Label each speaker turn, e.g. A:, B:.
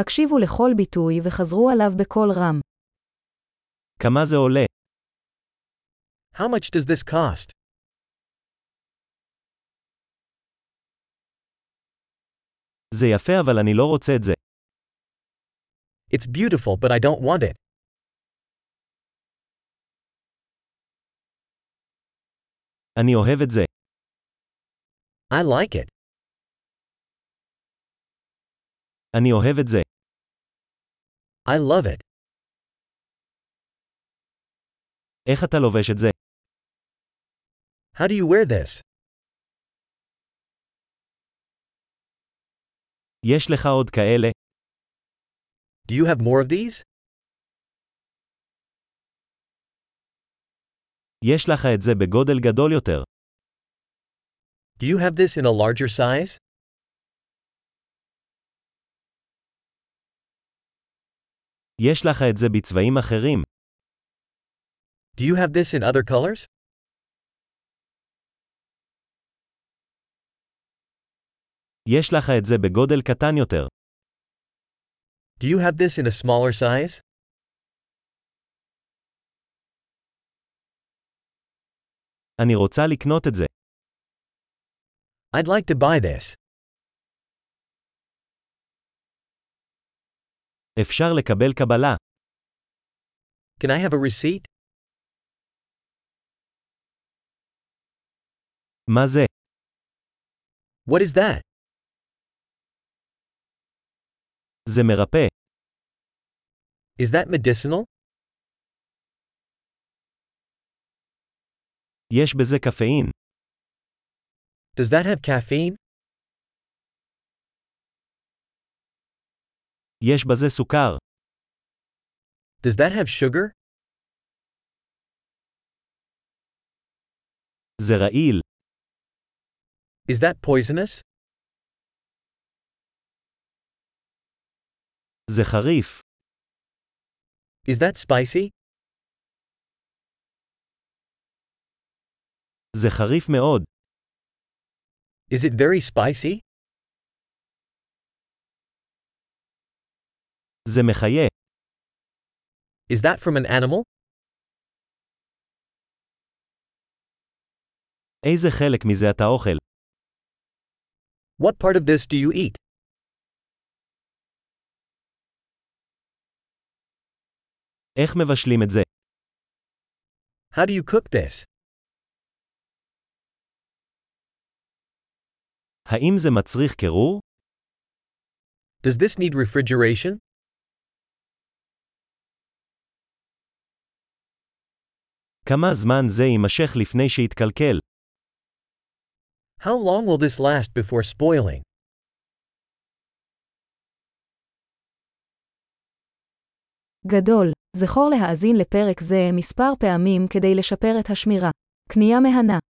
A: הקשיבו לכל ביטוי וחזרו עליו בקול רם.
B: כמה זה עולה?
C: How much does this cost?
B: זה יפה אבל אני לא רוצה את זה.
C: It's beautiful but I don't want it.
B: אני אוהב את זה.
C: I like it.
B: אני אוהב את זה.
C: I love it.
B: איך אתה לובש את זה?
C: How do you wear this?
B: יש לך עוד כאלה?
C: Do you have more of these?
B: יש לך את זה בגודל גדול יותר.
C: Do you have this in a larger size?
B: יש לך את זה בצבעים אחרים.
C: Do you have this in other colors?
B: יש לך את זה בגודל קטן יותר.
C: Do you have this in a smaller size?
B: אני רוצה לקנות את זה.
C: I'd like to buy this.
B: אפשר לקבל קבלה.
C: Can I have a receipt?
B: מה זה?
C: What is that?
B: זה מרפא.
C: Is that medicinal?
B: יש בזה קפאין.
C: Does that have caffeine?
B: יש בזה סוכר.
C: Does that have sugar?
B: זה רעיל.
C: Is that poisonous?
B: זה חריף.
C: Is that spicy?
B: זה חריף מאוד.
C: Is it very spicy?
B: זה מחיה.
C: Is that from an animal?
B: איזה חלק מזה אתה אוכל?
C: What part of this do you eat?
B: איך מבשלים את זה?
C: How do you cook this?
B: האם זה מצריך קירור?
C: Does this need refrigeration?
B: כמה זמן זה יימשך לפני שיתקלקל?
C: How long will this last before spoiling?
A: גדול, זכור להאזין לפרק זה מספר פעמים כדי לשפר את השמירה. קנייה מהנה